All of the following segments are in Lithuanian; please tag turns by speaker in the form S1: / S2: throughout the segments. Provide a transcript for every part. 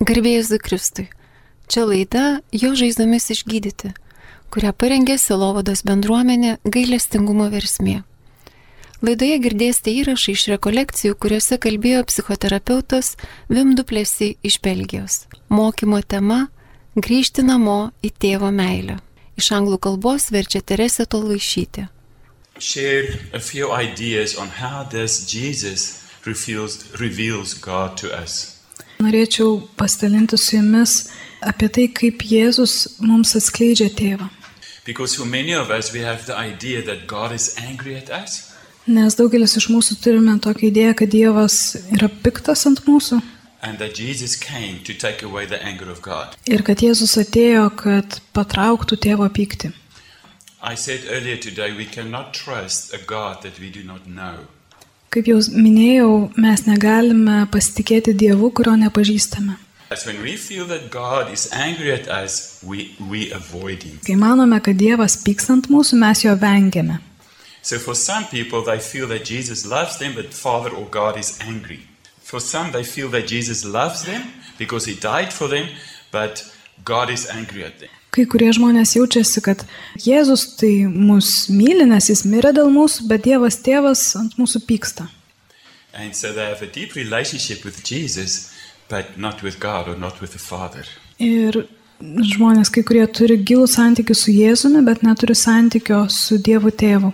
S1: Garbėjus Zikristui. Čia laida Jo žaizdomis išgydyti, kurią parengė Silovados bendruomenė gailestingumo versmė. Laidoje girdėsite įrašą iš rekolekcijų, kuriuose kalbėjo psichoterapeutas Vimduplėsi iš Belgijos. Mokymo tema - grįžti namo į tėvo meilę. Iš anglų kalbos verčia Teresė Tolaišytė.
S2: shared a few ideas on how does Jesus reveals, reveals God to us.
S3: Norėčiau pasidalinti su jumis apie tai, kaip Jėzus mums atskleidžia tėvą.
S2: Because for many of us, we have the idea that God is angry at us,
S3: Nes daugelis iš mūsų turime tokią idėją, kad Dievas yra piktas ant mūsų
S2: and that Jesus came to take away the anger of God.
S3: ir kad Jėzus atėjo, kad patrauktų tėvo pyktį.
S2: I said earlier today, we cannot trust a God that we do not know.
S3: Kaip jau minėjau, mes negalime pasitikėti Dievu, kurio nepažįstame.
S2: As when we feel that God is angry at us, we, we avoid Him.
S3: Kai manome, kad Dievas pyks ant mūsų, mes jo vengiame.
S2: So for some people, they feel that Jesus loves them, but Father or God is angry. For some, they feel that Jesus loves them because He died for them, but God is angry at them.
S3: Kai kurie žmonės jaučiasi, kad Jėzus tai mus myli, nes jis mirė dėl mūsų, bet Dievas tėvas ant mūsų pyksta.
S2: And so they have a deep relationship with Jesus, but not with God or not with the Father.
S3: Ir žmonės, kai kurie turi gilų santykių su Jėzumi, bet neturi santykio su Dievu tėvu.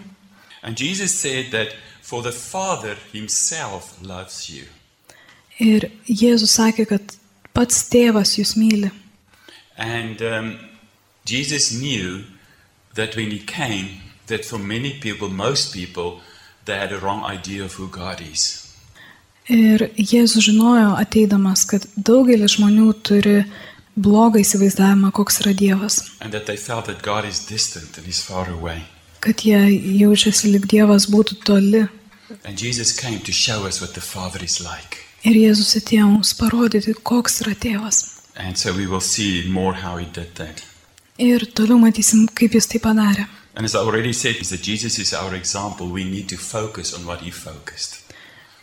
S2: And Jesus said that for the Father Himself loves you.
S3: Ir Jėzus sakė, kad pats tėvas jūs myli.
S2: And um, Jesus knew that when He came, that for many people, most people, they had a wrong idea of who God is.
S3: Ir Jėzus žinojo ateidamas, kad daugelis žmonių turi blogą įsivaizdavimą, koks yra Dievas.
S2: and that they felt that God is distant and is far away.
S3: Kad jie jaučiasi, lyg Dievas būtų toli.
S2: And Jesus came to show us what the Father is like.
S3: Ir Jėzus atėjo mums parodyti, koks yra tėvas.
S2: And so we will see more how he did that.
S3: Ir toliau matysim, kaip jis tai padarė.
S2: And as I already said, is that Jesus is our example. We need to focus on what he focused.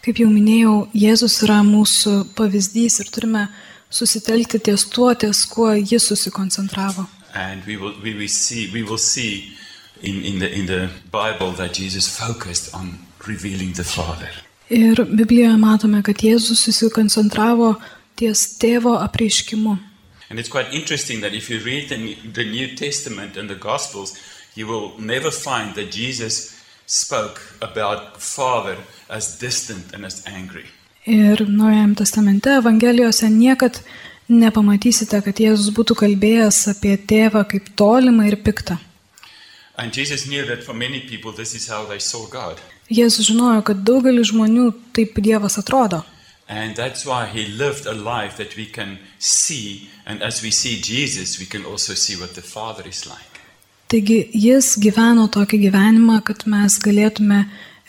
S3: Kaip jau minėjau, Jėzus yra mūsų pavyzdys ir turime susitelkti ties tuo, ties kuo jis susikoncentravo.
S2: And we will we will see we will see in, in the in the Bible that Jesus focused on revealing the Father.
S3: Ir Biblijoje matome, kad Jėzus susikoncentravo ties tėvo apreiškimu.
S2: And it's quite interesting that if you read the, New- the New Testament and the Gospels, you will never find that Jesus spoke about Father as distant and as angry.
S3: Ir Naujajam testamente, Evangelijose niekad nepamatysite, kad Jėzus būtų kalbėjęs apie tėvą kaip tolimą ir piktą.
S2: And Jesus knew that for many people, this is how they saw God.
S3: Jėzus žinojo, kad daugelis žmonių taip Dievas atrodo.
S2: And that's why he lived a life that we can see. And as we see Jesus, we can also see what the Father is like.
S3: Taigi jis gyveno tokį gyvenimą, kad mes galėtume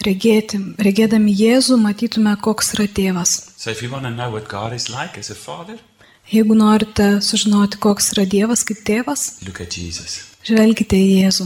S3: regėti, regėdami Jėzų, matytume, koks yra tėvas.
S2: So if you want to know what God is like as a Father,
S3: Jeigu norite sužinoti, koks yra Dievas kaip tėvas,
S2: look at Jesus.
S3: žvelgite į Jėzų.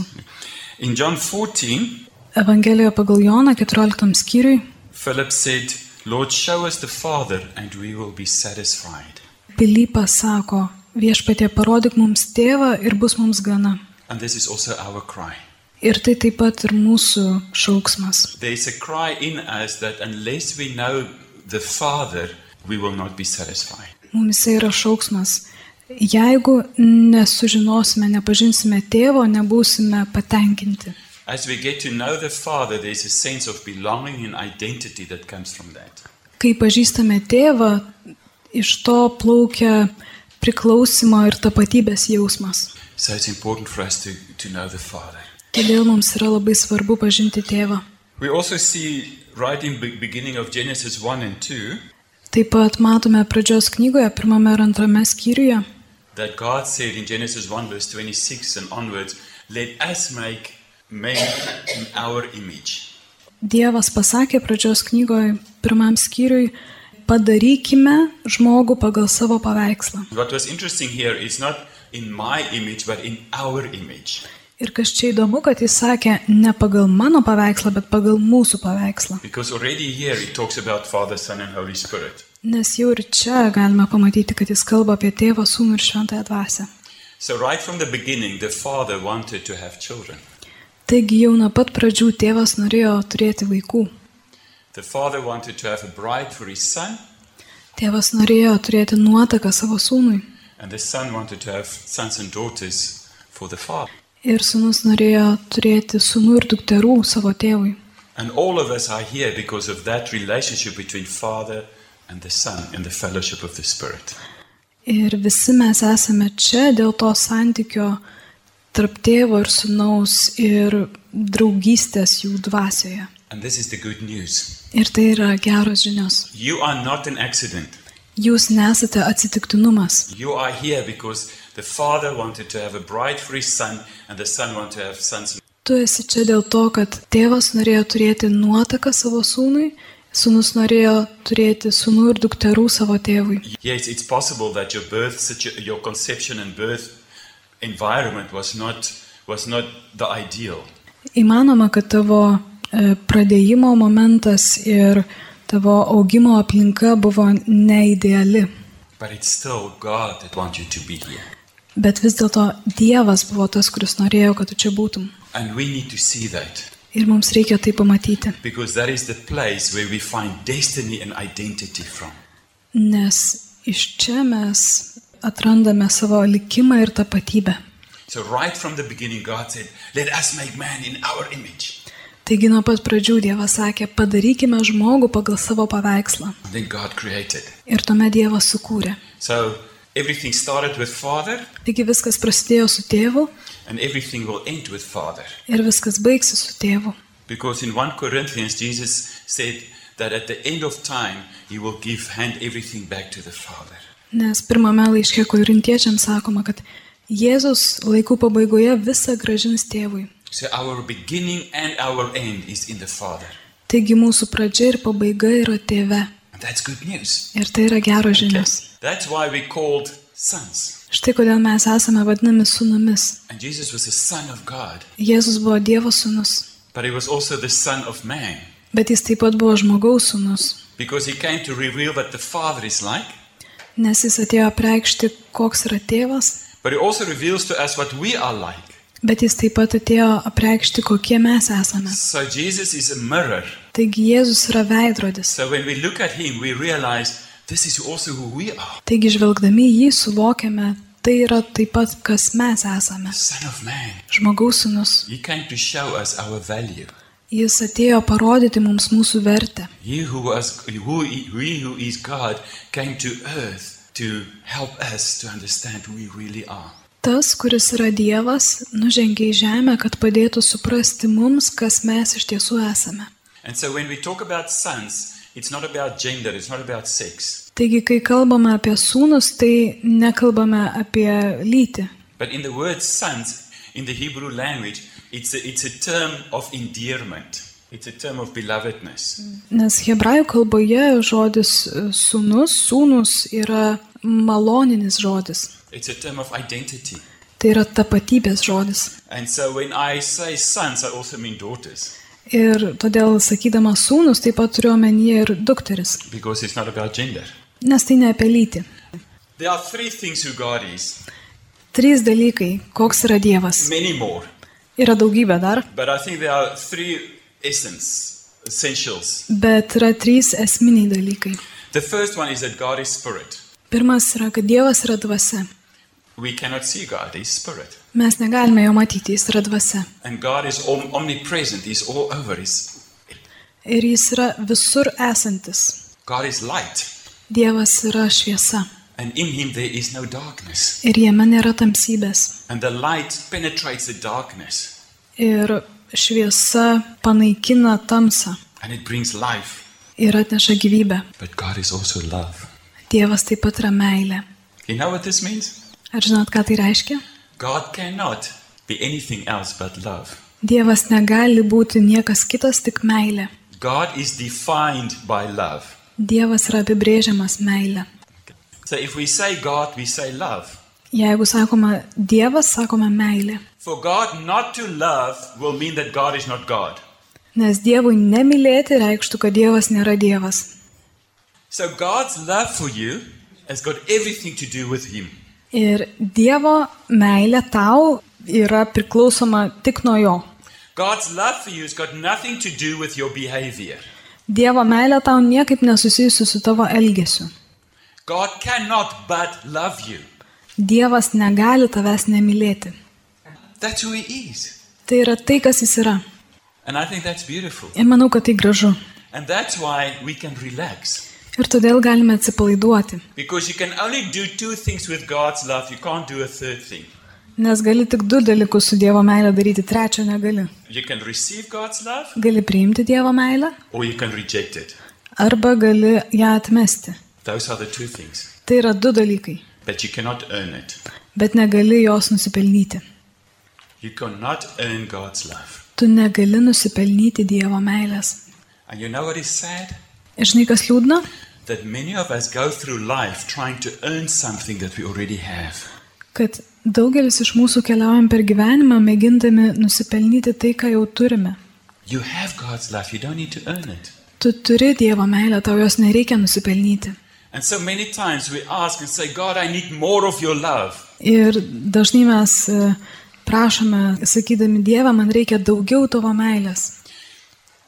S2: In John 14,
S3: Evangelijoje pagal Joną 14 skyriui
S2: Philip said, Lord, show us the Father, and we will be satisfied.
S3: Pilypas sako, viešpatie parodyk mums tėvą ir bus mums gana.
S2: And this is also our cry.
S3: Ir tai taip pat ir mūsų šauksmas.
S2: There's a cry in us that unless we know the Father, we will not be satisfied.
S3: Mums yra šauksmas. Jeigu nesužinosime, nepažinsime tėvo, nebūsime patenkinti.
S2: As we get to know the Father, there's a sense of belonging and identity that comes from that.
S3: Kai pažįstame tėvą, iš to plaukia priklausimo ir tapatybės jausmas.
S2: So it's important for us to, to know the Father.
S3: Todėl mums yra labai svarbu pažinti tėvą.
S2: We also see right in the beginning of Genesis 1 and 2
S3: Taip pat matome pradžios knygoje, pirmame ir antrame skyriuje,
S2: that God said in Genesis 1, verse 26 and onwards, Let us make man in our image.
S3: Dievas pasakė pradžios knygoje, pirmam skyriui, padarykime žmogų pagal savo paveikslą.
S2: What was interesting here is not in my image, but in our image.
S3: Ir kas čia įdomu, kad jis sakė ne pagal mano paveikslą, bet pagal mūsų paveikslą.
S2: Because already here it talks about Father, Son, and Holy Spirit.
S3: Nes jau ir čia galime pamatyti, kad jis kalba apie tėvą, sūnų ir šventąją dvasę.
S2: So, right from the beginning, the father wanted to have children.
S3: Taigi jau nuo pat pradžių tėvas norėjo turėti vaikų.
S2: The father wanted to have a bride for his son,
S3: Tėvas norėjo turėti nuotaką savo sūnui.
S2: and the son wanted to have sons and daughters for the father.
S3: Ir sūnus norėjo turėti sūnų ir dukterų savo tėvui.
S2: And all of us are here because of that relationship between father and the son in the fellowship of the Spirit.
S3: Ir visi mes esame čia dėl to santykio tarp tėvo ir sūnaus ir draugystės jų dvasioje.
S2: And this is the good news.
S3: Ir tai yra geros žinios.
S2: You are not an accident.
S3: Jūs nesate atsitiktinumas.
S2: You are here because the father wanted to have a bride for his son, and the son wanted to have sons.
S3: Tu esi čia dėl to, kad tėvas norėjo turėti nuotaką savo sūnui, sūnus norėjo turėti sūnų ir dukterų savo tėvui.
S2: Yes, it's possible that your birth, situ- your conception and birth environment was not was not the ideal.
S3: Įmanoma, kad tavo e, pradėjimo momentas ir tavo augimo aplinka buvo neideali,
S2: But it's still God that wants you to be here.
S3: bet vis dėlto Dievas buvo tas, kuris norėjo, kad tu čia būtum.
S2: And we need to see that
S3: Ir mums reikia tai pamatyti,
S2: because that is the place where we find destiny and identity from.
S3: nes iš čia mes atrandame savo likimą ir tapatybę.
S2: So right from the beginning God said, "Let us make man in our image."
S3: Taigi nuo pat pradžių Dievas sakė, padarykime žmogų pagal savo paveikslą.
S2: And then God created.
S3: Ir tuomet Dievas sukūrė.
S2: So everything started with father
S3: Taigi viskas prasidėjo su tėvu
S2: and everything will end with father.
S3: ir viskas baigsis su tėvu.
S2: Because in 1 Corinthians, Jesus said that at the end of time, he will give hand everything back to the Father.
S3: Nes pirmame laiške korintiečiams sakoma, kad Jėzus laikų pabaigoje visą gražins tėvui.
S2: So our beginning and our end is in the Father.
S3: Taigi mūsų pradžia ir pabaiga yra tėve.
S2: And that's good news.
S3: Ir tai yra geros žinios.
S2: That's why we called sons.
S3: Štai kodėl mes esame vadinami sunumis.
S2: And Jesus was the Son of God,
S3: Jėzus buvo Dievo sunus,
S2: but he was also the Son of man
S3: bet jis taip pat buvo žmogaus sunus,
S2: because he came to reveal what the Father is like,
S3: nes jis atėjo apreikšti, koks yra tėvas,
S2: but he also reveals to us what we are like.
S3: Bet jis taip pat atėjo apreikšti, kokie mes esame.
S2: So Jesus is a mirror.
S3: Taigi Jėzus yra veidrodis.
S2: So when we look at him, we realize this is also who we are
S3: Taigi žvelgdami į jį suvokiame, tai yra taip pat, kas mes esame.
S2: the Son of man.
S3: Žmogaus sunus.
S2: He came to show us our value.
S3: Jis atėjo parodyti mums mūsų vertę.
S2: He who, was, who, he who is God came to earth to help us to understand who we really are.
S3: Tas, kuris yra Dievas, nužengė į žemę, kad padėtų suprasti mums, kas mes iš tiesų esame.
S2: And so when we talk about sons, it's not about gender, it's not about sex.
S3: Taigi, kai kalbame apie sūnus, tai nekalbame apie lytį.
S2: But in the word sons, in the Hebrew language, it's a, it's a term of endearment, it's a term of belovedness.
S3: Nes hebrajų kalboje žodis e, sūnus, sūnus yra maloninis žodis.
S2: It's a term of identity.
S3: Tai yra tapatybės žodis.
S2: And so when I say sons, I also mean daughters
S3: Ir todėl sakydama sūnus taip pat turiu omenyje ir dukteris,
S2: because it's not about gender.
S3: nes tai ne apie lytį.
S2: There are three things who God is,
S3: Trys dalykai, koks yra Dievas.
S2: many more.
S3: Yra daugybė dar,
S2: But I think there are three essence, essentials.
S3: bet yra trys esminiai dalykai.
S2: The first one is that God is spirit.
S3: Pirmas yra, kad Dievas yra dvasia.
S2: We cannot see God, He's spirit.
S3: Mes negalime jo matyti, jis yra dvasia.
S2: And God is om- omnipresent, He's all over. He's,
S3: Ir jis yra visur esantis.
S2: God is light,
S3: Dievas yra šviesa.
S2: and in Him there is no darkness.
S3: Ir jame nėra tamsybės.
S2: And the light penetrates the darkness,
S3: Ir šviesa panaikina tamsą
S2: and it brings life.
S3: ir atneša gyvybę.
S2: But God is also love.
S3: Dievas taip pat yra meilė.
S2: You know what this means?
S3: Ar žinot, ką tai reiškia?
S2: God cannot be anything else but love.
S3: Dievas negali būti niekas kitas, tik meilė.
S2: God is defined by love.
S3: Dievas yra apibrėžiamas meilė.
S2: So if we say God, we say love.
S3: Jeigu sakoma Dievas, sakoma meilė.
S2: For God not to love will mean that God is not God.
S3: Nes Dievui nemylėti reikštų, kad Dievas nėra Dievas.
S2: So God's love for you has got everything to do with Him.
S3: Ir Dievo meilė tau yra priklausoma tik nuo jo.
S2: God's love for you has got nothing to do with your behavior.
S3: Dievo meilė tau niekaip nesusijusi su tavo elgesiu.
S2: God cannot but love you.
S3: Dievas negali tavęs nemylėti.
S2: That's who He is.
S3: Tai yra tai, kas jis yra.
S2: And I think that's beautiful.
S3: Ir manau, kad tai gražu.
S2: And that's why we can relax.
S3: Ir todėl galime atsipalaiduoti.
S2: Because you can only do two things with God's love, you can't do a third thing.
S3: Nes gali tik du dalykus su Dievo meilė daryti, trečio negali.
S2: You can receive God's love
S3: Gali priimti Dievo meilę
S2: or you can reject it.
S3: arba gali ją atmesti.
S2: Those are the two things.
S3: Tai yra du dalykai,
S2: But you cannot earn it.
S3: bet negali jos nusipelnyti.
S2: You cannot earn God's love.
S3: Tu negali nusipelnyti Dievo meilės.
S2: And you know what is sad?
S3: Ir žinai, kas liūdna?
S2: That many of us go through life trying to earn something that we already have.
S3: Kad daugelis iš mūsų keliaujam per gyvenimą, mėgindami nusipelnyti tai, ką jau turime.
S2: You have God's love, you don't need to earn it.
S3: Tu turi Dievo meilę, tau jos nereikia nusipelnyti.
S2: And so many times we ask and say, God, I need more of your love.
S3: Ir dažnai mes e, prašome, sakydami Dievą, man reikia daugiau tavo meilės.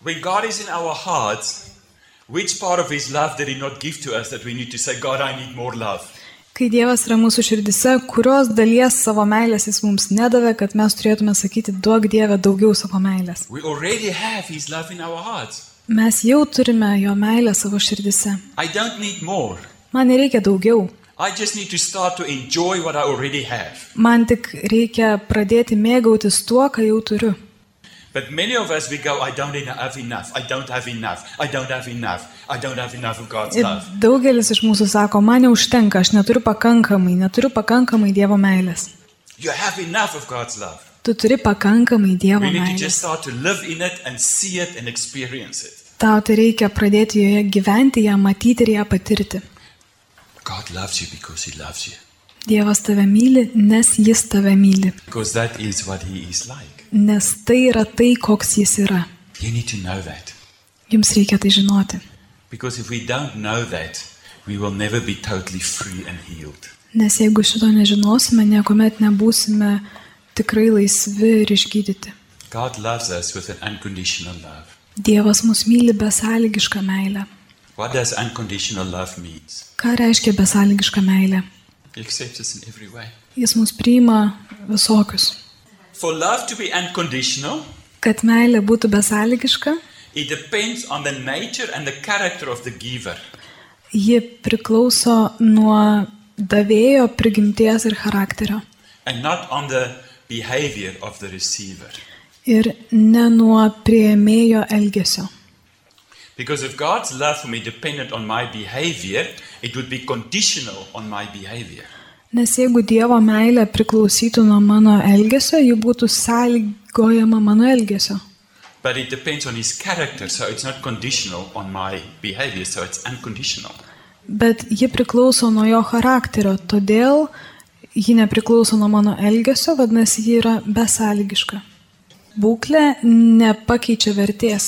S2: When God is in our hearts, which part of his love did he not give to us that we need to say, God, I need more love?
S3: Kai Dievas yra mūsų širdise, kurios dalies savo meilės jis mums nedavė, kad mes turėtume sakyti, duok Dieve daugiau savo meilės.
S2: We already have his love in our hearts.
S3: Mes jau turime jo meilę savo širdise.
S2: I don't need more.
S3: Man nereikia daugiau.
S2: I just need to start to enjoy what I already have.
S3: Man tik reikia pradėti mėgautis tuo, ką jau turiu.
S2: But many of us, we go, I don't eno- have enough. I don't have enough. I don't have enough. I don't have enough of God's
S3: Ir
S2: love.
S3: daugelis iš mūsų sako, man neužtenka, aš neturiu pakankamai, neturiu pakankamai Dievo meilės.
S2: You have enough of God's love.
S3: Tu turi pakankamai Dievo
S2: We need to just
S3: meilės.
S2: start to live in it and see it and experience it.
S3: Tau tai reikia pradėti joje gyventi, ją matyti ir ją patirti.
S2: God loves you because he loves you.
S3: Dievas tave myli, nes jis tave myli.
S2: Because that is what he is like.
S3: Nes tai yra tai, koks jis yra.
S2: You need to know that.
S3: Jums reikia tai žinoti.
S2: Because if we don't know that, we will never be totally free and healed.
S3: Nes jeigu šito nežinosime, niekuomet nebūsime tikrai laisvi ir išgydyti.
S2: God loves us with an unconditional love.
S3: Dievas mus myli besąlygišką meilę.
S2: What does unconditional love mean?
S3: Ką reiškia besąlygiška meilė?
S2: He accepts us in every way.
S3: Jis mus priima visokius.
S2: For love to be unconditional,
S3: Kad meilė būtų besąlygiška,
S2: it depends on the nature and the character of the giver.
S3: ji priklauso nuo davėjo prigimties ir charakterio.
S2: and not on the behavior of the receiver.
S3: Ir ne nuo prieimėjo elgesio.
S2: Because if God's love for me depended on my behavior, it would be conditional on my behavior.
S3: Nes jeigu Dievo meilė priklausytų nuo mano elgesio, ji būtų sąlygojama mano elgesio.
S2: But it depends on his character, so it's not conditional on my behavior, so it's unconditional.
S3: Bet ji priklauso nuo jo charakterio, todėl ji nepriklauso nuo mano elgesio, vadinasi, ji yra besąlygiška. Būklė nepakeičia vertės.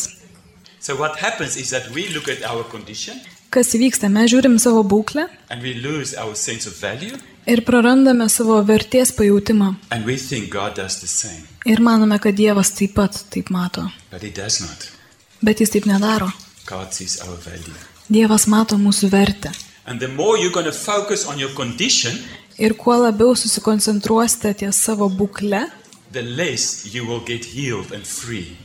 S2: So what happens is that we look at our condition
S3: Kas vyksta, mes žiūrim savo būklę
S2: and we lose our sense of value
S3: ir prarandame savo vertės pajūtimą.
S2: and we think God does the same,
S3: Ir manome, kad Dievas taip pat taip mato.
S2: but he does not.
S3: Bet jis taip nedaro.
S2: God sees our value.
S3: Dievas mato mūsų vertę.
S2: And the more you're going to focus on your condition,
S3: Ir kuo labiau susikoncentruosite ties savo būkle,
S2: the less you will get healed and free.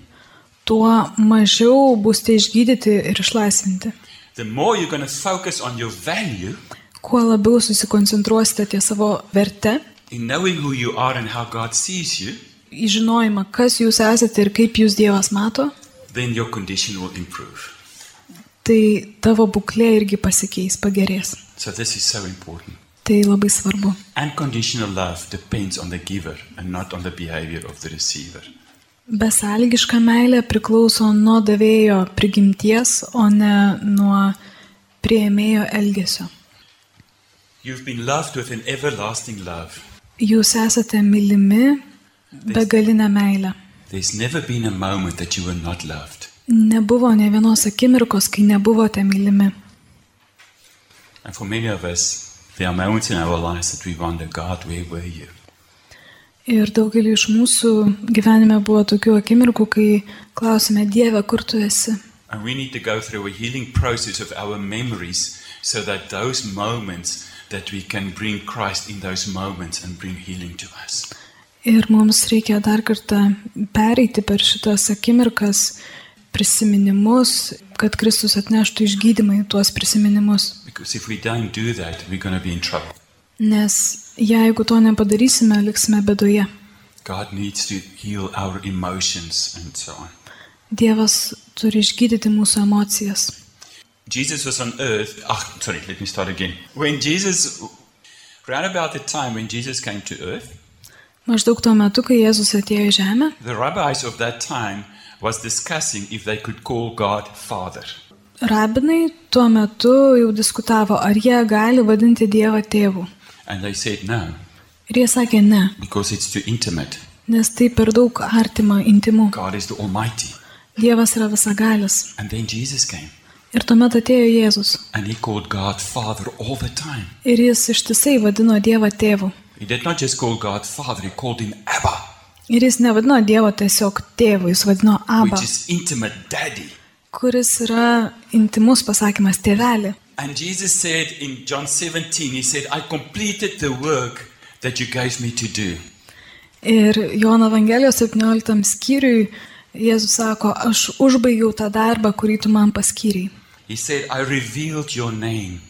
S3: tuo mažiau būsite išgydyti ir išlaisvinti.
S2: The more you're going to focus on your value
S3: Kuo labiau susikoncentruosite ties savo verte,
S2: in knowing who you are and how God sees you,
S3: į žinojimą, kas jūs esate ir kaip jūs Dievas mato,
S2: then your condition will improve.
S3: tai tavo būklė irgi pasikeis, pagerės.
S2: So, this is so important.
S3: Tai labai svarbu.
S2: Unconditional love depends on the giver and not on the behavior of the receiver.
S3: Besalgiška meilė priklauso nuo davėjo prigimties, o ne nuo prieimėjo elgesio.
S2: You've been loved with an everlasting love.
S3: Jūs esate mylimi begalinę meilę.
S2: There's never been a moment that you were not loved.
S3: Nebuvo ne vienos akimirkos, kai nebuvote mylimi.
S2: And for many of us, there are moments in our lives that we wonder, God, where were you?
S3: Ir daugelį iš mūsų gyvenime buvo tokių akimirkų, kai klausime Dievę, kur tu esi.
S2: And we need to go through a healing process of our memories so that those moments that we can bring Christ in those moments and bring healing to us.
S3: Ir mums reikia dar kartą pereiti per šitas akimirkas, prisiminimus, kad Kristus atneštų išgydymą į tuos prisiminimus.
S2: Because if we don't do that, we're going to be in trouble.
S3: Nes jeigu to nepadarysime, liksime bedoje.
S2: God needs to heal our emotions and so on.
S3: Dievas turi išgydyti mūsų emocijas.
S2: Jesus was on earth. Ah, sorry, let me start again. When Jesus, round about the time when Jesus came to earth,
S3: Maždaug tuo metu, kai Jėzus atėjo į žemę,
S2: the rabbis of that time was discussing if they could call God Father.
S3: rabinai tuo metu jau diskutavo, ar jie gali vadinti Dievą tėvu.
S2: And they said no,
S3: Ir jie sakė ne,
S2: because it's too intimate.
S3: nes tai per daug artima intimu.
S2: God is the Almighty.
S3: Dievas yra visagalis.
S2: And then Jesus came
S3: Ir tuomet atėjo Jėzus.
S2: and he called God Father all the time.
S3: Ir jis ištisai vadino Dievą tėvu.
S2: He did not just call God Father, he called him Abba,
S3: Ir jis nevadino Dievo tiesiog tėvu, jis vadino Abba,
S2: which is intimate daddy.
S3: kuris yra intimus pasakymas tėvelį.
S2: And Jesus said in John 17, he said, I completed the work that you gave me to do.
S3: Ir Jono Evangelijos 17 skyriui Jėzus sako, aš užbaigiau tą darbą, kurį tu man paskyriai.
S2: He said, I revealed your name.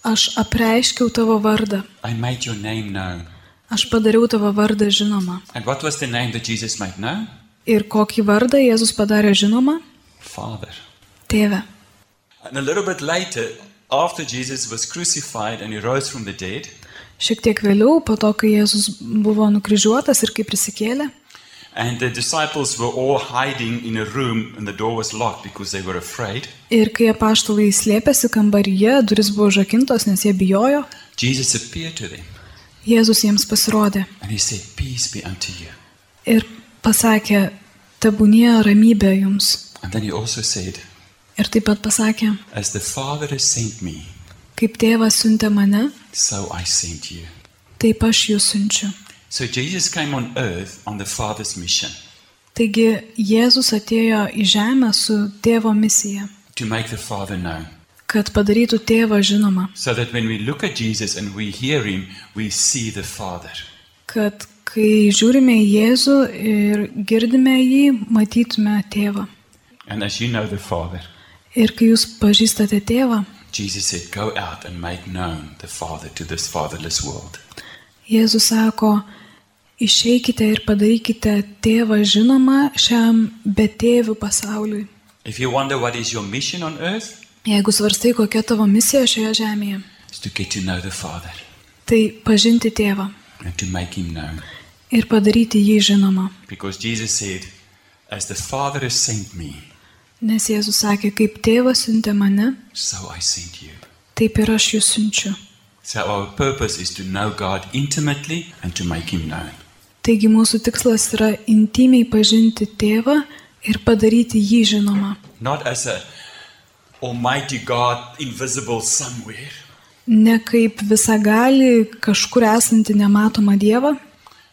S3: Aš apreiškiau tavo vardą,
S2: I made your name known.
S3: aš padariau tavo vardą žinomą.
S2: And what was the name that Jesus made known?
S3: Ir kokį vardą Jėzus padarė žinomą?
S2: Father.
S3: Tėve.
S2: And a little bit later, after Jesus was crucified and he rose from the dead,
S3: Šiek tiek vėliau, po to, kai Jėzus buvo nukryžiuotas ir kai prisikėlė,
S2: and the disciples were all hiding in a room and the door was locked because they were afraid,
S3: ir kai apaštalai slėpėsi kambaryje, duris buvo žakintos, nes jie bijojo,
S2: Jesus appeared to them
S3: Jėzus jiems pasirodė
S2: and he said, Peace be unto you.
S3: ir pasakė, tebūnie ramybė jums.
S2: And then he also said,
S3: Ir taip pat pasakė,
S2: As the Father has sent me,
S3: kaip tėvas siuntė mane,
S2: so I sent you.
S3: taip aš jūs siunčiu.
S2: So Jesus came on earth on the Father's mission
S3: Taigi Jėzus atėjo į žemę su tėvo misija,
S2: to make the Father known.
S3: kad padarytų tėvą žinomą,
S2: So that when we look at Jesus and we hear him, we see the Father.
S3: kad kai žiūrime į Jėzų ir girdime jį, matytume tėvą.
S2: And as you know the Father,
S3: Ir kai jūs pažįstate tėvą,
S2: Jesus said, Go out and make known the Father to this fatherless world.
S3: Jėzus sako, išeikite ir padarykite tėvą žinomą šiam betėvių pasauliui.
S2: If you wonder what is your mission on earth,
S3: Jeigu svarstai, kokia tavo misija šioje žemėje,
S2: it's to get to know the Father
S3: tai pažinti tėvą
S2: and to make him known.
S3: ir padaryti jį žinomą.
S2: Because Jesus said, As the Father has sent me,
S3: Nes Jėzus sakė, kaip tėvas siuntė mane,
S2: so I sent you.
S3: taip ir aš jūs siunčiu.
S2: So our purpose is to know God intimately and to make him known.
S3: Taigi mūsų tikslas yra intimiai pažinti tėvą ir padaryti jį žinomą.
S2: Not as a almighty God invisible somewhere,
S3: Ne kaip visagali kažkur esantį nematomą dievą,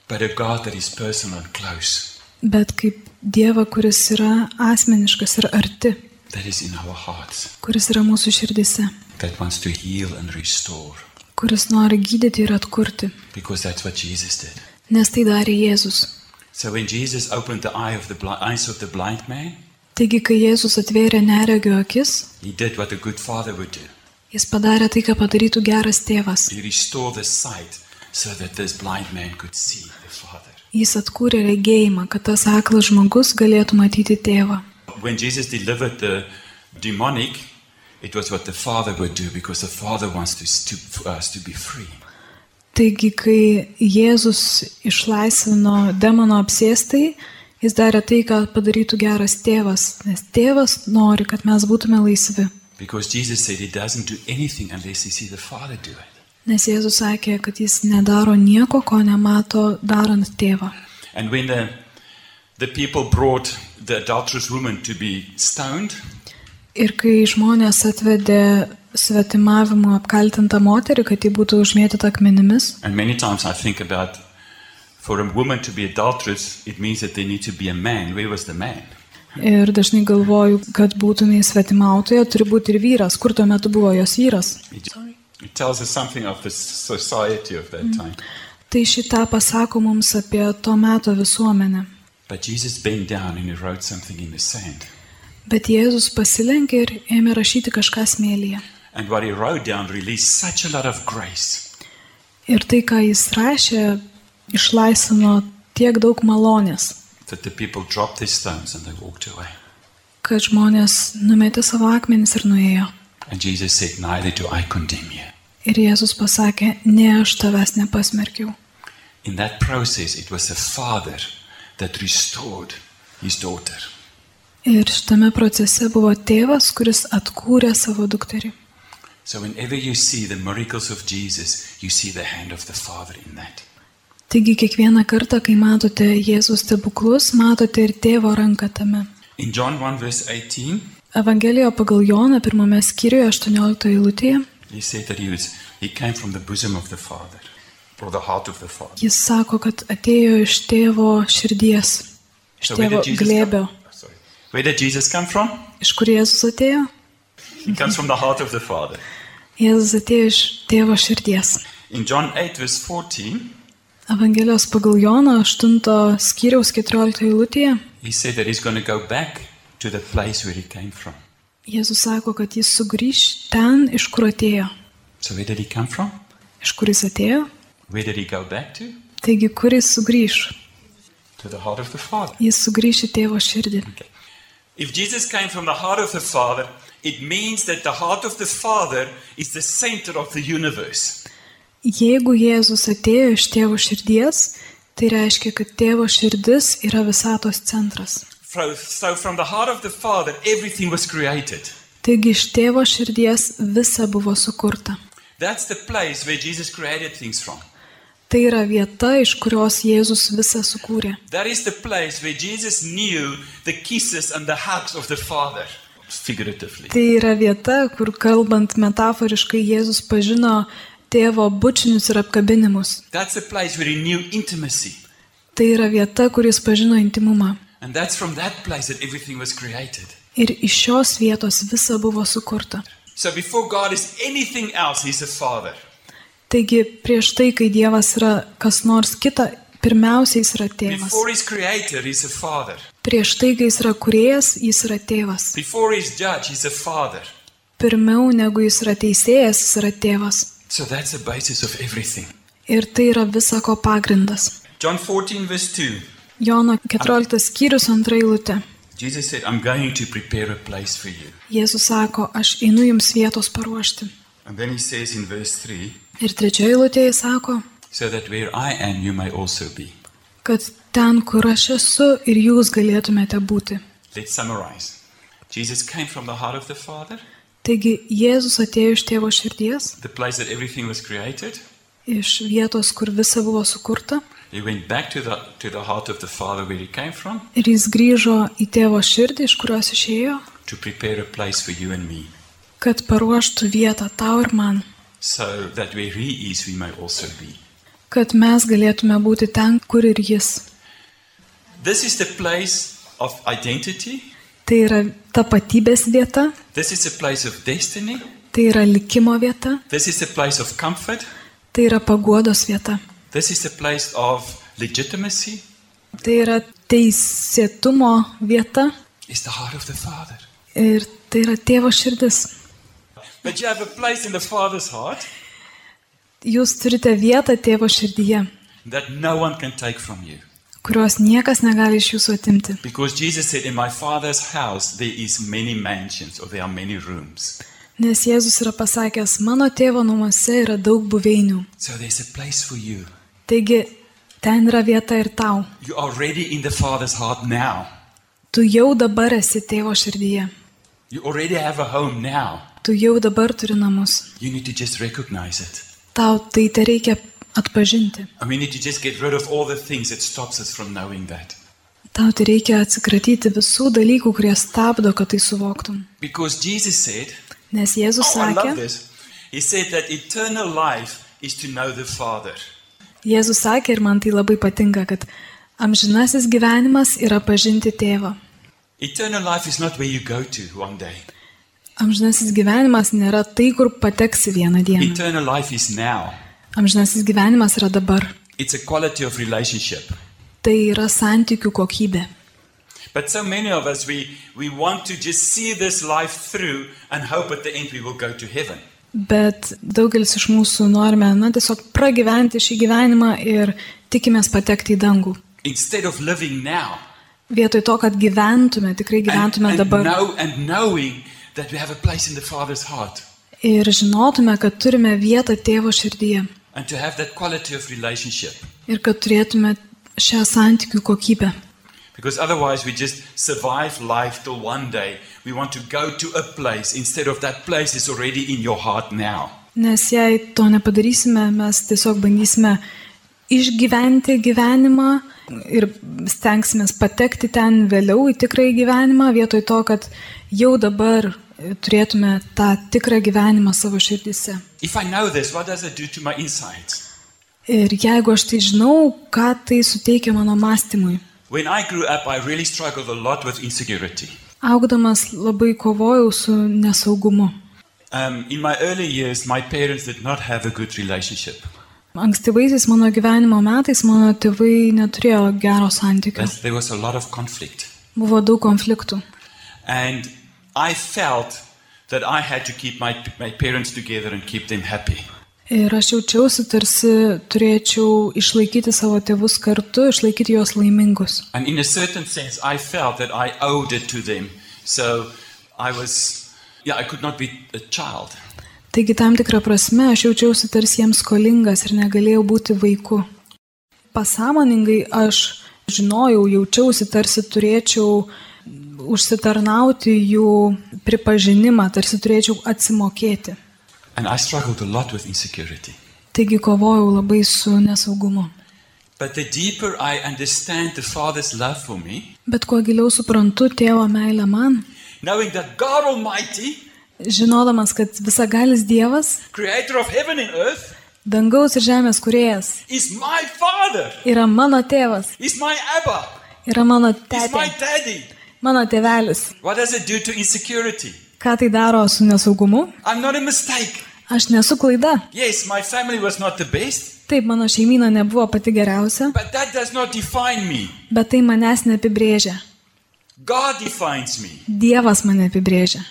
S2: but a God that is personal and close,
S3: bet kaip dievą, kuris yra asmeniškas ir arti,
S2: that is in our hearts,
S3: kuris yra mūsų širdise,
S2: that wants to heal and restore.
S3: kuris nori gydyti ir atkurti,
S2: Because that's what Jesus did.
S3: nes tai darė Jėzus.
S2: So when Jesus opened the eye of the blind, eyes of the blind man,
S3: Taigi, kai Jėzus atvėrė neregio akis,
S2: he did what a good father would do.
S3: jis padarė tai, ką padarytų geras tėvas.
S2: He restored the sight so that this blind man could see the Father.
S3: Jis atkūrė regėjimą, kad tas aklas žmogus galėtų matyti tėvą.
S2: When Jesus delivered the demonic, it was what the Father would do because the Father wants to, to, for us to be free.
S3: Taigi, kai Jėzus išlaisvino demono apsėstai, jis darė tai, ką padarytų geras tėvas, nes tėvas nori, kad mes būtume laisvi.
S2: Because Jesus said he doesn't do anything unless he see the Father do it.
S3: Nes Jėzus sakė, kad jis nedaro nieko, ko nemato darant tėvą.
S2: And when the, the people brought the adulterous woman to be stoned,
S3: Ir kai žmonės atvedė svetimavimu apkaltinta moterį, kad ji būtų užmėtyta akmenimis.
S2: And many times I think about for a woman to be adulterous, it means that there needs to be a man. Where was the man?
S3: Ir dažnai galvoju, kad būtumai svetimautoje, turi būti ir vyras. Kur tuo metu buvo jos vyras?
S2: It, it tells us something of the society of that time.
S3: Tai šitą pasako mums apie to meto visuomenę.
S2: But Jesus bent down and he wrote something in the sand.
S3: Bet Jėzus pasilenkė ir ėmė rašyti kažką smėlyje.
S2: And what he wrote down released such a lot of grace.
S3: Ir tai, ką jis rašė, išlaisvino tiek daug malonės,
S2: that the people dropped their stones and they walked away.
S3: kad žmonės numetė savo akmenis ir nuėjo.
S2: And Jesus said, Neither do I condemn you.
S3: Ir Jėzus pasakė, ne aš tavęs nepasmerkiau.
S2: In that process, it was the father that restored his daughter.
S3: Ir šitame procese buvo tėvas, kuris atkūrė savo dukterį.
S2: So, whenever you see the miracles of Jesus, you see the hand of the Father in that.
S3: Taigi kiekvieną kartą, kai matote Jėzus stebuklus, matote ir tėvo ranką tame.
S2: In John 1, verse 18,
S3: Evangelijoje pagal Joną pirmame skyriuje 18 eilutėje
S2: he said that he, was, he came from the bosom of the Father, or the heart of the Father.
S3: jis sako, kad atėjo iš tėvo širdies, iš tėvo glėbio.
S2: come? Oh, Sorry. Where did Jesus come from?
S3: Iš kur Jėzus atėjo?
S2: He comes from the heart of the Father.
S3: Jėzus atėjo iš tėvo širdies.
S2: In John 8, verse 14,
S3: Evangelijos pagal Joną 8 skyriaus 14 eilutėje
S2: he said that he's going to go back to the place where he came from.
S3: Jėzus sako, kad jis sugrįž ten, iš kur atėjo.
S2: So, where did he come from?
S3: Iš kur jis atėjo?
S2: Where did he go back to?
S3: Taigi, kur jis sugrįž?
S2: To the heart of the Father.
S3: Jis sugrįž į tėvo širdį.
S2: If Jesus came from the heart of the Father, it means that the heart of the Father is the center of the universe.
S3: Jeigu Jėzus atėjo iš tėvo širdies, tai reiškia, kad tėvo širdis yra visatos centras.
S2: Fro- So, from the heart of the Father, everything was created.
S3: Taigi iš tėvo širdies visa buvo sukurta.
S2: That's the place where Jesus created things from.
S3: Tai yra vieta, iš kurios Jėzus visą sukūrė.
S2: That is the place where Jesus knew the kisses and the hugs of the Father, figuratively.
S3: Tai yra vieta, kur kalbant metaforiškai Jėzus pažino tėvo bučinius ir apkabinimus.
S2: That's the place where he knew intimacy.
S3: Tai yra vieta, kur jis pažino intimumą.
S2: And that's from that place that everything was created.
S3: Ir iš šios vietos visa buvo sukurta.
S2: So, before God is anything else, he's a Father.
S3: Taigi prieš tai, kai Dievas yra kas nors kita, pirmiausia jis yra tėvas.
S2: Before he's creator, he's a Father.
S3: Prieš tai, kai jis yra kuriejas, jis yra tėvas.
S2: Before he's judge, he's a father.
S3: Pirmiau negu jis yra teisėjas, jis yra tėvas.
S2: So that's the basis of everything.
S3: Ir tai yra visako pagrindas.
S2: John 14, verse 2.
S3: Jono 14 skyrius antra eilutė.
S2: Jesus said, I'm going to prepare a place for you.
S3: Jėzus sako, aš einu jums vietos paruošti.
S2: And then he says in verse 3,
S3: Ir trečioji eilutė jis sako,
S2: so that where I am, you may also be.
S3: kad ten, kur aš esu ir jūs galėtumėte būti.
S2: Let's summarize. Jesus came from the heart of the Father,
S3: Taigi Jėzus atėjo iš tėvo širdies,
S2: the place that everything was created.
S3: iš vietos, kur visa buvo sukurta,
S2: He went back to the, to the heart of the Father where he came from
S3: ir jis grįžo į tėvo širdį, iš kurios išėjo,
S2: to prepare a place for you and me,
S3: kad paruoštų vietą tau ir man,
S2: so that where he is, we may also be.
S3: kad mes galėtume būti ten, kur ir jis.
S2: This is the place of identity.
S3: Tai yra tapatybės vieta,
S2: This is a place of destiny.
S3: tai yra likimo vieta,
S2: This is the place of comfort.
S3: tai yra paguodos vieta,
S2: This is the place of legitimacy.
S3: tai yra teisėtumo vieta
S2: It's the heart of the Father.
S3: ir tai yra tėvo širdis.
S2: But you have a place in the Father's heart
S3: Jūs turite vietą tėvo širdyje,
S2: that no one can take from you.
S3: kurios niekas negali iš jūsų atimti.
S2: Because Jesus said, In my Father's house there is many mansions or there are many rooms.
S3: Nes Jėzus yra pasakęs, mano tėvo namuose yra daug buveinių.
S2: So there's a place for you.
S3: Taigi, ten yra vieta ir tau.
S2: You are already in the Father's heart now.
S3: Tu jau dabar esi tėvo širdyje.
S2: You already have a home now.
S3: Tu jau dabar turi namus.
S2: You need to just recognize it.
S3: Tau tai te reikia atpažinti.
S2: And we need to just get rid of all the things that stops us from knowing that.
S3: Tau tai reikia atsikratyti visų dalykų, kurie stabdo, kad tai suvoktum.
S2: Because Jesus said,
S3: Nes Jėzus
S2: Oh, I love
S3: sakė,
S2: this. He said that eternal life is to know the Father.
S3: Jėzus sakė ir man tai labai patinka, kad amžinasis gyvenimas yra pažinti tėvą.
S2: Eternal life is not where you go to one day.
S3: Amžinasis gyvenimas nėra tai, kur pateksi vieną dieną.
S2: Eternal life is now.
S3: Amžinasis gyvenimas yra dabar.
S2: It's a quality of relationship.
S3: Tai yra santykių kokybė.
S2: But so many of us, we, we want to just see this life through and hope at the end we will go to heaven.
S3: Bet daugelis iš mūsų norime, na, tiesiog pragyventi šį gyvenimą ir tikimės patekti į dangų.
S2: Instead of living now
S3: Vietoj to, kad gyventume, tikrai
S2: and,
S3: gyventume
S2: and
S3: dabar
S2: know, and knowing that we have a place in the Father's heart
S3: ir žinotume, kad turime vietą tėvo širdyje
S2: and to have that quality of relationship.
S3: ir kad turėtume šią santykių kokybę.
S2: Because otherwise, we just survive life till one day we want to go to a place instead of that place is already in your heart now.
S3: Nes jei to nepadarysime, mes tiesiog bandysime išgyventi gyvenimą ir stengsimės patekti ten vėliau į tikrąjį gyvenimą, vietoj to, kad jau dabar e, turėtume tą tikrą gyvenimą savo širdyse.
S2: If I know this, what does it do to my insides?
S3: Ir jeigu aš tai žinau, ką tai suteikia mano mąstymui.
S2: When I grew up, I really struggled a lot with insecurity.
S3: Augdamas labai kovojau su nesaugumu.
S2: Um, in my early years, my parents did not have a good relationship.
S3: Ankstyvaisiais mano gyvenimo metais mano tėvai neturėjo gero santykio.
S2: There was a lot of conflict.
S3: Buvo daug konfliktų.
S2: And I felt that I had to keep my, my parents together and keep them happy.
S3: Ir aš jaučiausi, tarsi turėčiau išlaikyti savo tėvus kartu, išlaikyti juos laimingus.
S2: And in a certain sense, I felt that I owed it to them. So I was, yeah, I could not be a child.
S3: Taigi tam tikrą prasme aš jaučiausi tarsi jiems skolingas ir negalėjau būti vaiku. Pasamoningai aš žinojau, jaučiausi tarsi turėčiau užsitarnauti jų pripažinimą, tarsi turėčiau atsimokėti.
S2: And I struggled a lot with insecurity.
S3: Taigi kovojau labai su nesaugumu.
S2: But the deeper I understand the Father's love for me,
S3: Bet kuo giliau suprantu tėvo meilę man,
S2: knowing that God Almighty,
S3: žinodamas, kad visagalis Dievas,
S2: creator of heaven and earth,
S3: dangaus ir žemės kuriejas,
S2: is my Father,
S3: yra mano tėvas,
S2: is my Abba,
S3: yra mano
S2: is my
S3: tėtė,
S2: daddy.
S3: mano tėvelis.
S2: What does it do to insecurity?
S3: Ką tai daro su nesaugumu?
S2: I'm not a mistake.
S3: Aš nesu klaida.
S2: Yes, my family was not the best,
S3: Taip, mano šeimyna nebuvo pati geriausia,
S2: but that does not define me.
S3: bet tai manęs neapibrėžia.
S2: God defines me.
S3: Dievas mane apibrėžia.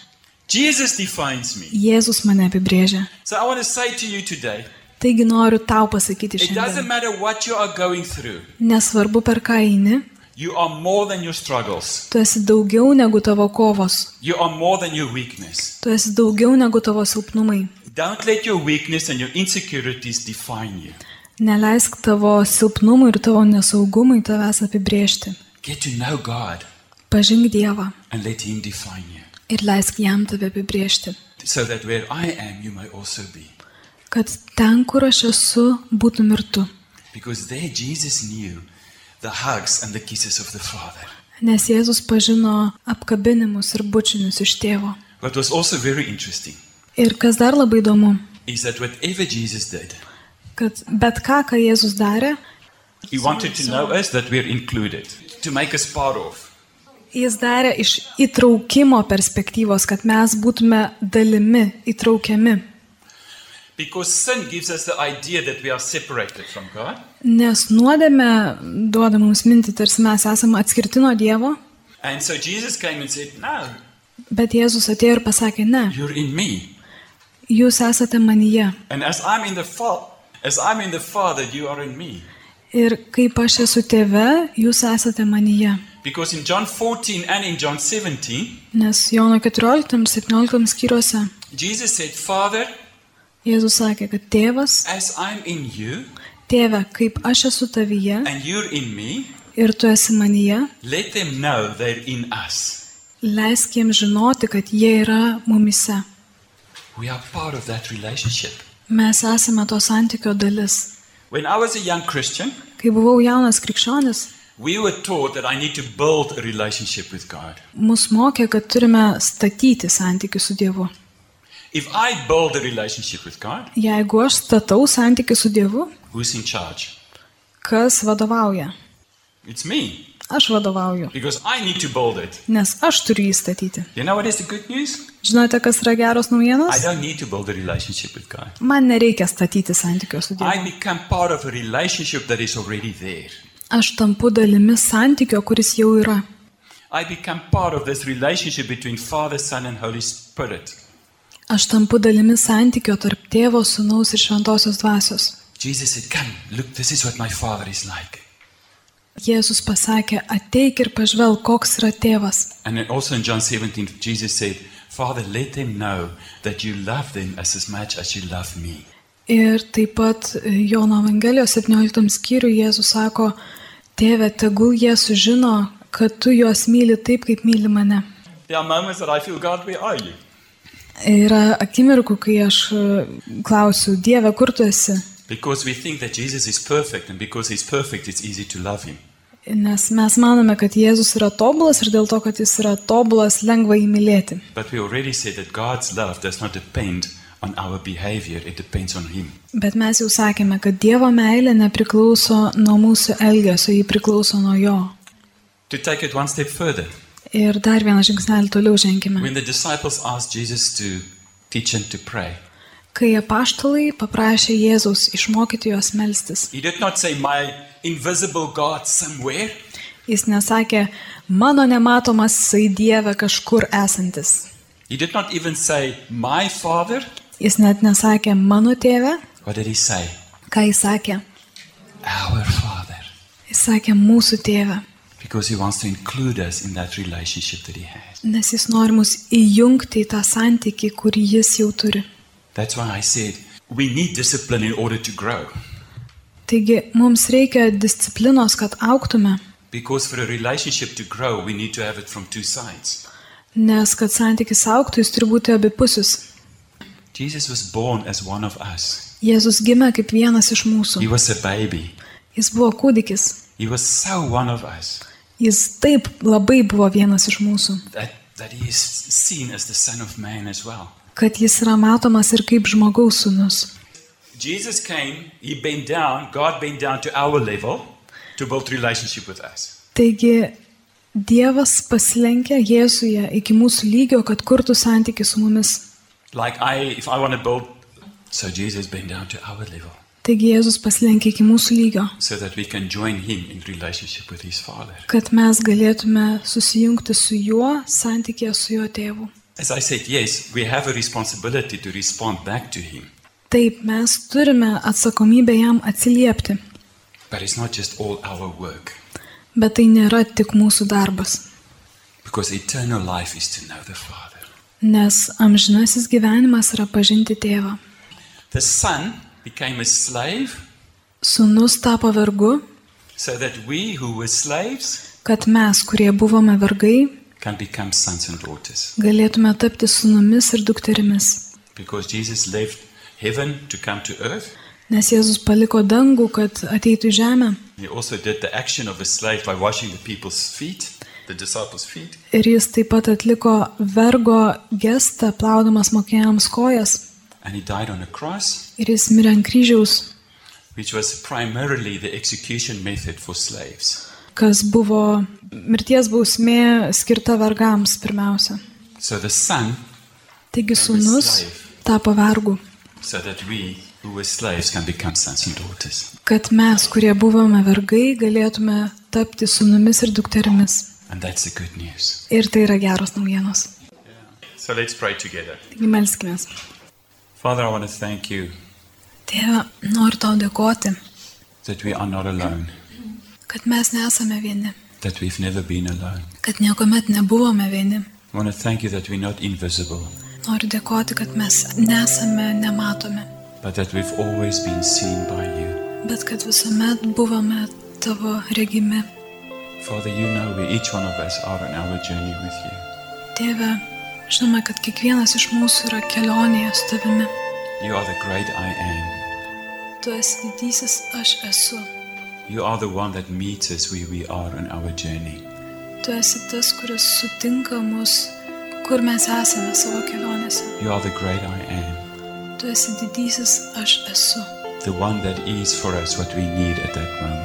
S2: Jesus defines me.
S3: Jėzus mane apibrėžia.
S2: So I want to say to you today
S3: Taigi noriu tau pasakyti
S2: it doesn't
S3: šiandien.
S2: matter what you are going through,
S3: Nesvarbu per ką eini,
S2: you are more than your struggles,
S3: tu esi daugiau negu tavo kovos,
S2: you are more than your weakness.
S3: tu esi daugiau negu tavo silpnumai.
S2: Don't let your weakness and your insecurities define you.
S3: Neleisk tavo silpnumui ir tavo nesaugumui tavęs apibrėžti.
S2: Get to know God
S3: Pažink Dievą
S2: and let Him define you,
S3: ir leisk jam tave apibrėžti.
S2: so that where I am, you may also be.
S3: Kad ten, kur aš esu, būtum ir tu.
S2: Because there Jesus knew the hugs and the kisses of the Father.
S3: Nes Jėzus pažino apkabinimus ir bučinius iš tėvo.
S2: What was also very interesting
S3: Ir kas dar labai įdomu,
S2: is that whatever Jesus did,
S3: kad bet ką, ką Jėzus darė,
S2: He wanted to know us that we're included, to make us part of.
S3: jis darė iš įtraukimo perspektyvos, kad mes būtume dalimi, įtraukiami.
S2: Because sin gives us the idea that we are separated from God.
S3: Nes nuodėme duoda mums mintį, tarsi mes esame atskirti nuo Dievo,
S2: And so Jesus came and said, No,
S3: bet Jėzus atėjo ir pasakė, ne,
S2: you're in me.
S3: jūs esate manyje.
S2: And as I'm in the Father, as I'm in the Father, you are in me.
S3: Ir kaip aš esu tėve, jūs esate manyje.
S2: Because in John 14 and in John 17,
S3: Nes Jono 14 ir 17 skyriuose
S2: Jesus said, Father,
S3: Jėzus sakė, kad tėvas,
S2: as I'm in you
S3: tėve, kaip aš esu tavyje
S2: and you're in me,
S3: ir tu esi manyje,
S2: let them know they're in us.
S3: leisk jiems žinoti, kad jie yra mumise.
S2: We are part of that relationship.
S3: Mes esame to santykio dalis.
S2: When I was a young Christian,
S3: Kai buvau jaunas krikščionis,
S2: we were taught that I need to build a relationship with God.
S3: mus mokė, kad turime statyti santykių su Dievu.
S2: If I build a relationship with God,
S3: Jeigu aš statau santykių su Dievu,
S2: who's in charge?
S3: kas vadovauja?
S2: It's me,
S3: Aš vadovauju,
S2: because I need to build it.
S3: nes aš turiu jį statyti.
S2: You know what is the good news?
S3: Žinote, kas yra geros
S2: I
S3: naujienos?
S2: don't need to build a relationship with God.
S3: Man nereikia statyti santykių su Dievu.
S2: I become part of a relationship that is already there.
S3: Aš tampu dalimi santykio, kuris jau yra.
S2: I become part of this relationship between Father, Son, and Holy Spirit.
S3: Aš tampu dalimi santykio tarp tėvo, sunaus ir šventosios dvasios.
S2: Jesus said, Come, look, this is what my Father is like.
S3: Jėzus pasakė, ateik ir pažvelk, koks yra tėvas.
S2: And then also in John 17, Jesus said, Father, let them know that you love them as as much as you love me.
S3: Ir taip pat e, Jono Evangelijos 17 skyriui Jėzus sako, tėve, tegul jie sužino, kad tu juos myli taip, kaip myli mane.
S2: There are moments that I feel, God, where are you?
S3: Yra akimirkų, kai aš e, klausiu, Dieve, kur tu esi?
S2: Because we think that Jesus is perfect, and because he's perfect, it's easy to love him.
S3: Nes mes manome, kad Jėzus yra tobulas ir dėl to, kad jis yra tobulas, lengva įmylėti.
S2: But we already said that God's love does not depend on our behavior, it depends on him.
S3: Bet mes jau sakėme, kad Dievo meilė nepriklauso nuo mūsų elgesio, ji priklauso nuo jo.
S2: To take it one step further,
S3: Ir dar vieną žingsnelį toliau ženkime.
S2: when the disciples asked Jesus to teach them to pray,
S3: Kai apaštalai paprašė Jėzaus išmokyti juos melstis,
S2: he did not say, My invisible God somewhere.
S3: jis nesakė, mano nematomas sai Dieve kažkur esantis.
S2: He did not even say, My Father.
S3: Jis net nesakė, mano tėve,
S2: What did he say?
S3: ką jis sakė.
S2: Our Father.
S3: Jis sakė, mūsų tėve,
S2: Because he wants to include us in that relationship that he has.
S3: nes jis nori mus įjungti į tą santykį, kurį jis jau turi.
S2: That's why I said, We need discipline in order to grow.
S3: Taigi mums reikia disciplinos, kad auktume,
S2: Because for a relationship to grow, we need to have it from two sides.
S3: nes kad santykis auktų, jis turi būti abipusis.
S2: Jesus was born as one of us.
S3: Jėzus gimė kaip vienas iš mūsų.
S2: He was a baby.
S3: Jis buvo kūdikis.
S2: He was so one of us
S3: Jis taip labai buvo vienas iš mūsų.
S2: that, that he is seen as the Son of Man as well.
S3: kad jis yra matomas ir kaip žmogaus sūnus.
S2: Jesus came, he bent down, God bent down to our level to build relationship with us.
S3: Taigi Dievas pasilenkia Jėzuje iki mūsų lygio, kad kurtų santyki su mumis.
S2: Like I, if I want to build, so Jesus bent down to our level
S3: Taigi Jėzus pasilenkia iki mūsų lygio,
S2: so that we can join him in relationship with his Father.
S3: kad mes galėtume susijungti su juo santykėje su jo tėvu.
S2: As I said, yes, we have a responsibility to respond back to him,
S3: Taip, mes turime atsakomybę jam atsiliepti,
S2: but it's not just all our work.
S3: bet tai nėra tik mūsų darbas,
S2: Because eternal life is to know the Father.
S3: nes amžinasis gyvenimas yra pažinti tėvą.
S2: The Son became a slave
S3: Sūnus tapo vergu,
S2: so that we who were slaves
S3: kad mes, kurie buvome vergai,
S2: can become sons and daughters.
S3: galėtume tapti sunumis ir dukterimis,
S2: Because Jesus left heaven to come to earth,
S3: nes Jėzus paliko dangų, kad ateitų į žemę
S2: he also did the action of a slave by washing the people's feet, the disciples' feet.
S3: ir jis taip pat atliko vergo gestą, plaudamas mokėjams kojas
S2: And he died on a cross,
S3: ir jis mirė ant kryžiaus,
S2: which was primarily the execution method for slaves.
S3: kas buvo mirties bausmė skirta vergams pirmiausia.
S2: So the Son,
S3: Taigi sūnus tapo vergu,
S2: so that we who were slaves can become sons and daughters.
S3: kad mes, kurie buvome vergai, galėtume tapti sunumis ir dukterimis.
S2: And that's the good news.
S3: Ir tai yra geros naujienos.
S2: So let's pray together.
S3: Taigi melskime.
S2: Father, I want to thank you
S3: Tėve, noriu tau dėkoti,
S2: that we are not alone,
S3: kad mes nesame vieni.
S2: that we've never been alone.
S3: kad niekuomet nebuvome vieni.
S2: I want to thank you that we're not invisible,
S3: Noriu dėkoti, kad mes nesame nematomi,
S2: but that we've always been seen by you.
S3: bet kad visuomet buvome tavo regimi.
S2: Father, you know where each one of us are on our journey with you.
S3: Tėve, žinome, kad kiekvienas iš mūsų yra kelionėje su tavimi.
S2: You are the great I
S3: Tu esi didysis, aš esu.
S2: am. You are the one that meets us where we are on our journey.
S3: Tu esi tas, kuris sutinka mus, kur mes esame savo kelionėse.
S2: You are the great I am,
S3: Tu esi didysis aš esu,
S2: the one that is for us what we need at that moment.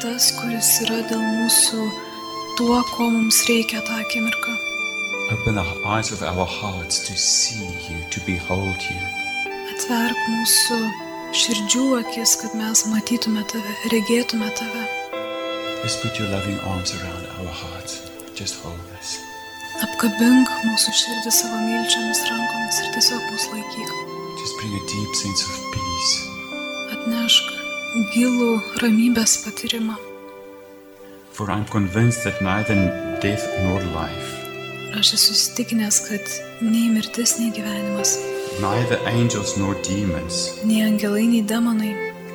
S3: tas, kuris yra dėl mūsų tuo, ko mums reikia tą akimirką.
S2: Open the eyes of our hearts to see you, to behold you.
S3: Atverk mūsų širdžių akis, kad mes matytume tave, regėtume tave.
S2: Just put your loving arms around our hearts. Just hold us.
S3: Apkabink mūsų širdį savo mylčiamis rankomis ir tiesiog mus laikyk.
S2: Just bring a deep sense of peace.
S3: Atnešk gilų ramybės patyrimą.
S2: For I'm convinced that neither death nor life,
S3: Ir Aš esu įsitikinęs, kad nei mirtis, nei gyvenimas,
S2: neither angels nor demons,
S3: nei angelai, nei demonai,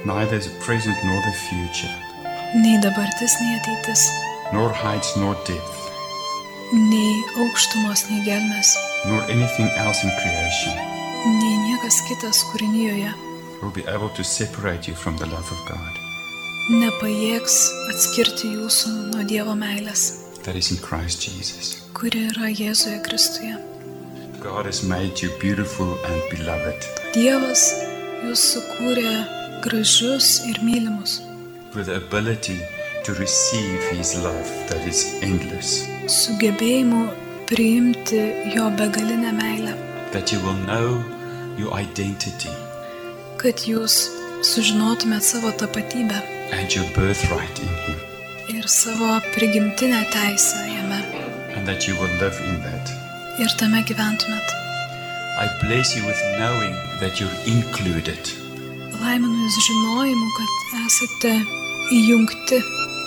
S2: neither the present nor the future,
S3: nei dabartis, nei ateitis,
S2: nor heights nor depth,
S3: nei aukštumos, nei gelmes,
S2: nor anything else in creation
S3: nei niekas kitas kūrinyje
S2: will be able to separate you from the love of God
S3: nepajėgs atskirti jūsų nuo Dievo meilės,
S2: that is in Christ Jesus.
S3: kuri yra Jėzuje Kristuje.
S2: God has made you beautiful and beloved
S3: Dievas jūs sukūrė gražius ir mylimus,
S2: with the ability to receive His love that is endless,
S3: sugebėjimu priimti jo begalinę meilę,
S2: that you will know your identity
S3: kad jūs sužinotumėt savo tapatybę
S2: and your birthright in Him,
S3: ir savo prigimtinę teisę jame
S2: and that you will live in that.
S3: ir tame gyventumėt.
S2: I bless you with knowing that you're included.
S3: Laiminu jūs žinojimu, kad esate įjungti,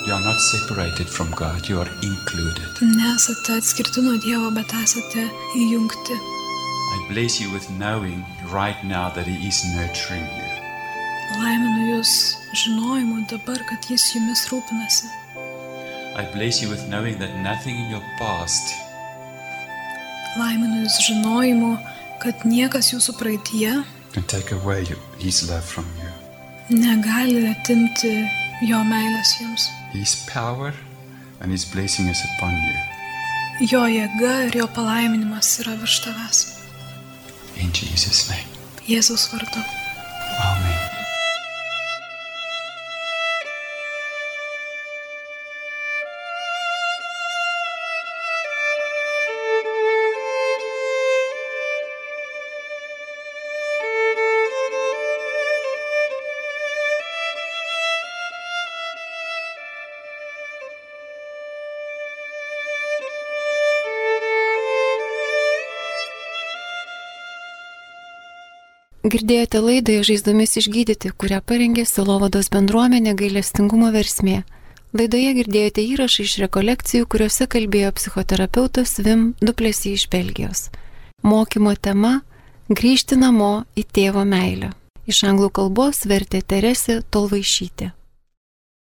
S2: You are not separated from God, you are included.
S3: nesate atskirti nuo Dievo, bet esate įjungti.
S2: I bless you with knowing right now that He is nurturing you,
S3: Laiminu jūs žinojimu dabar, kad Jis jumis rūpinasi.
S2: I bless you with knowing that nothing in your past
S3: Laiminu Jūs žinojimu, kad niekas Jūsų praeitie
S2: can take away you- His love from you.
S3: negali atimti Jo meilės Jums.
S2: His power and His blessing is upon you.
S3: Jo jėga ir Jo palaiminimas yra virš Tavęs.
S2: In Jesus' name.
S3: Jėzaus vardu.
S2: Amen.
S1: Girdėjote laidą Žaizdomis išgydyti, kurią parengė Silovados bendruomenė gailestingumo versmė. Laidoje girdėjote įrašą iš rekolekcijų, kuriuose kalbėjo psichoterapeutas Vim Duplesy iš Belgijos. Mokymo tema - grįžti namo į tėvo meilę. Iš anglų kalbos vertė Teresė Tolvaišytė.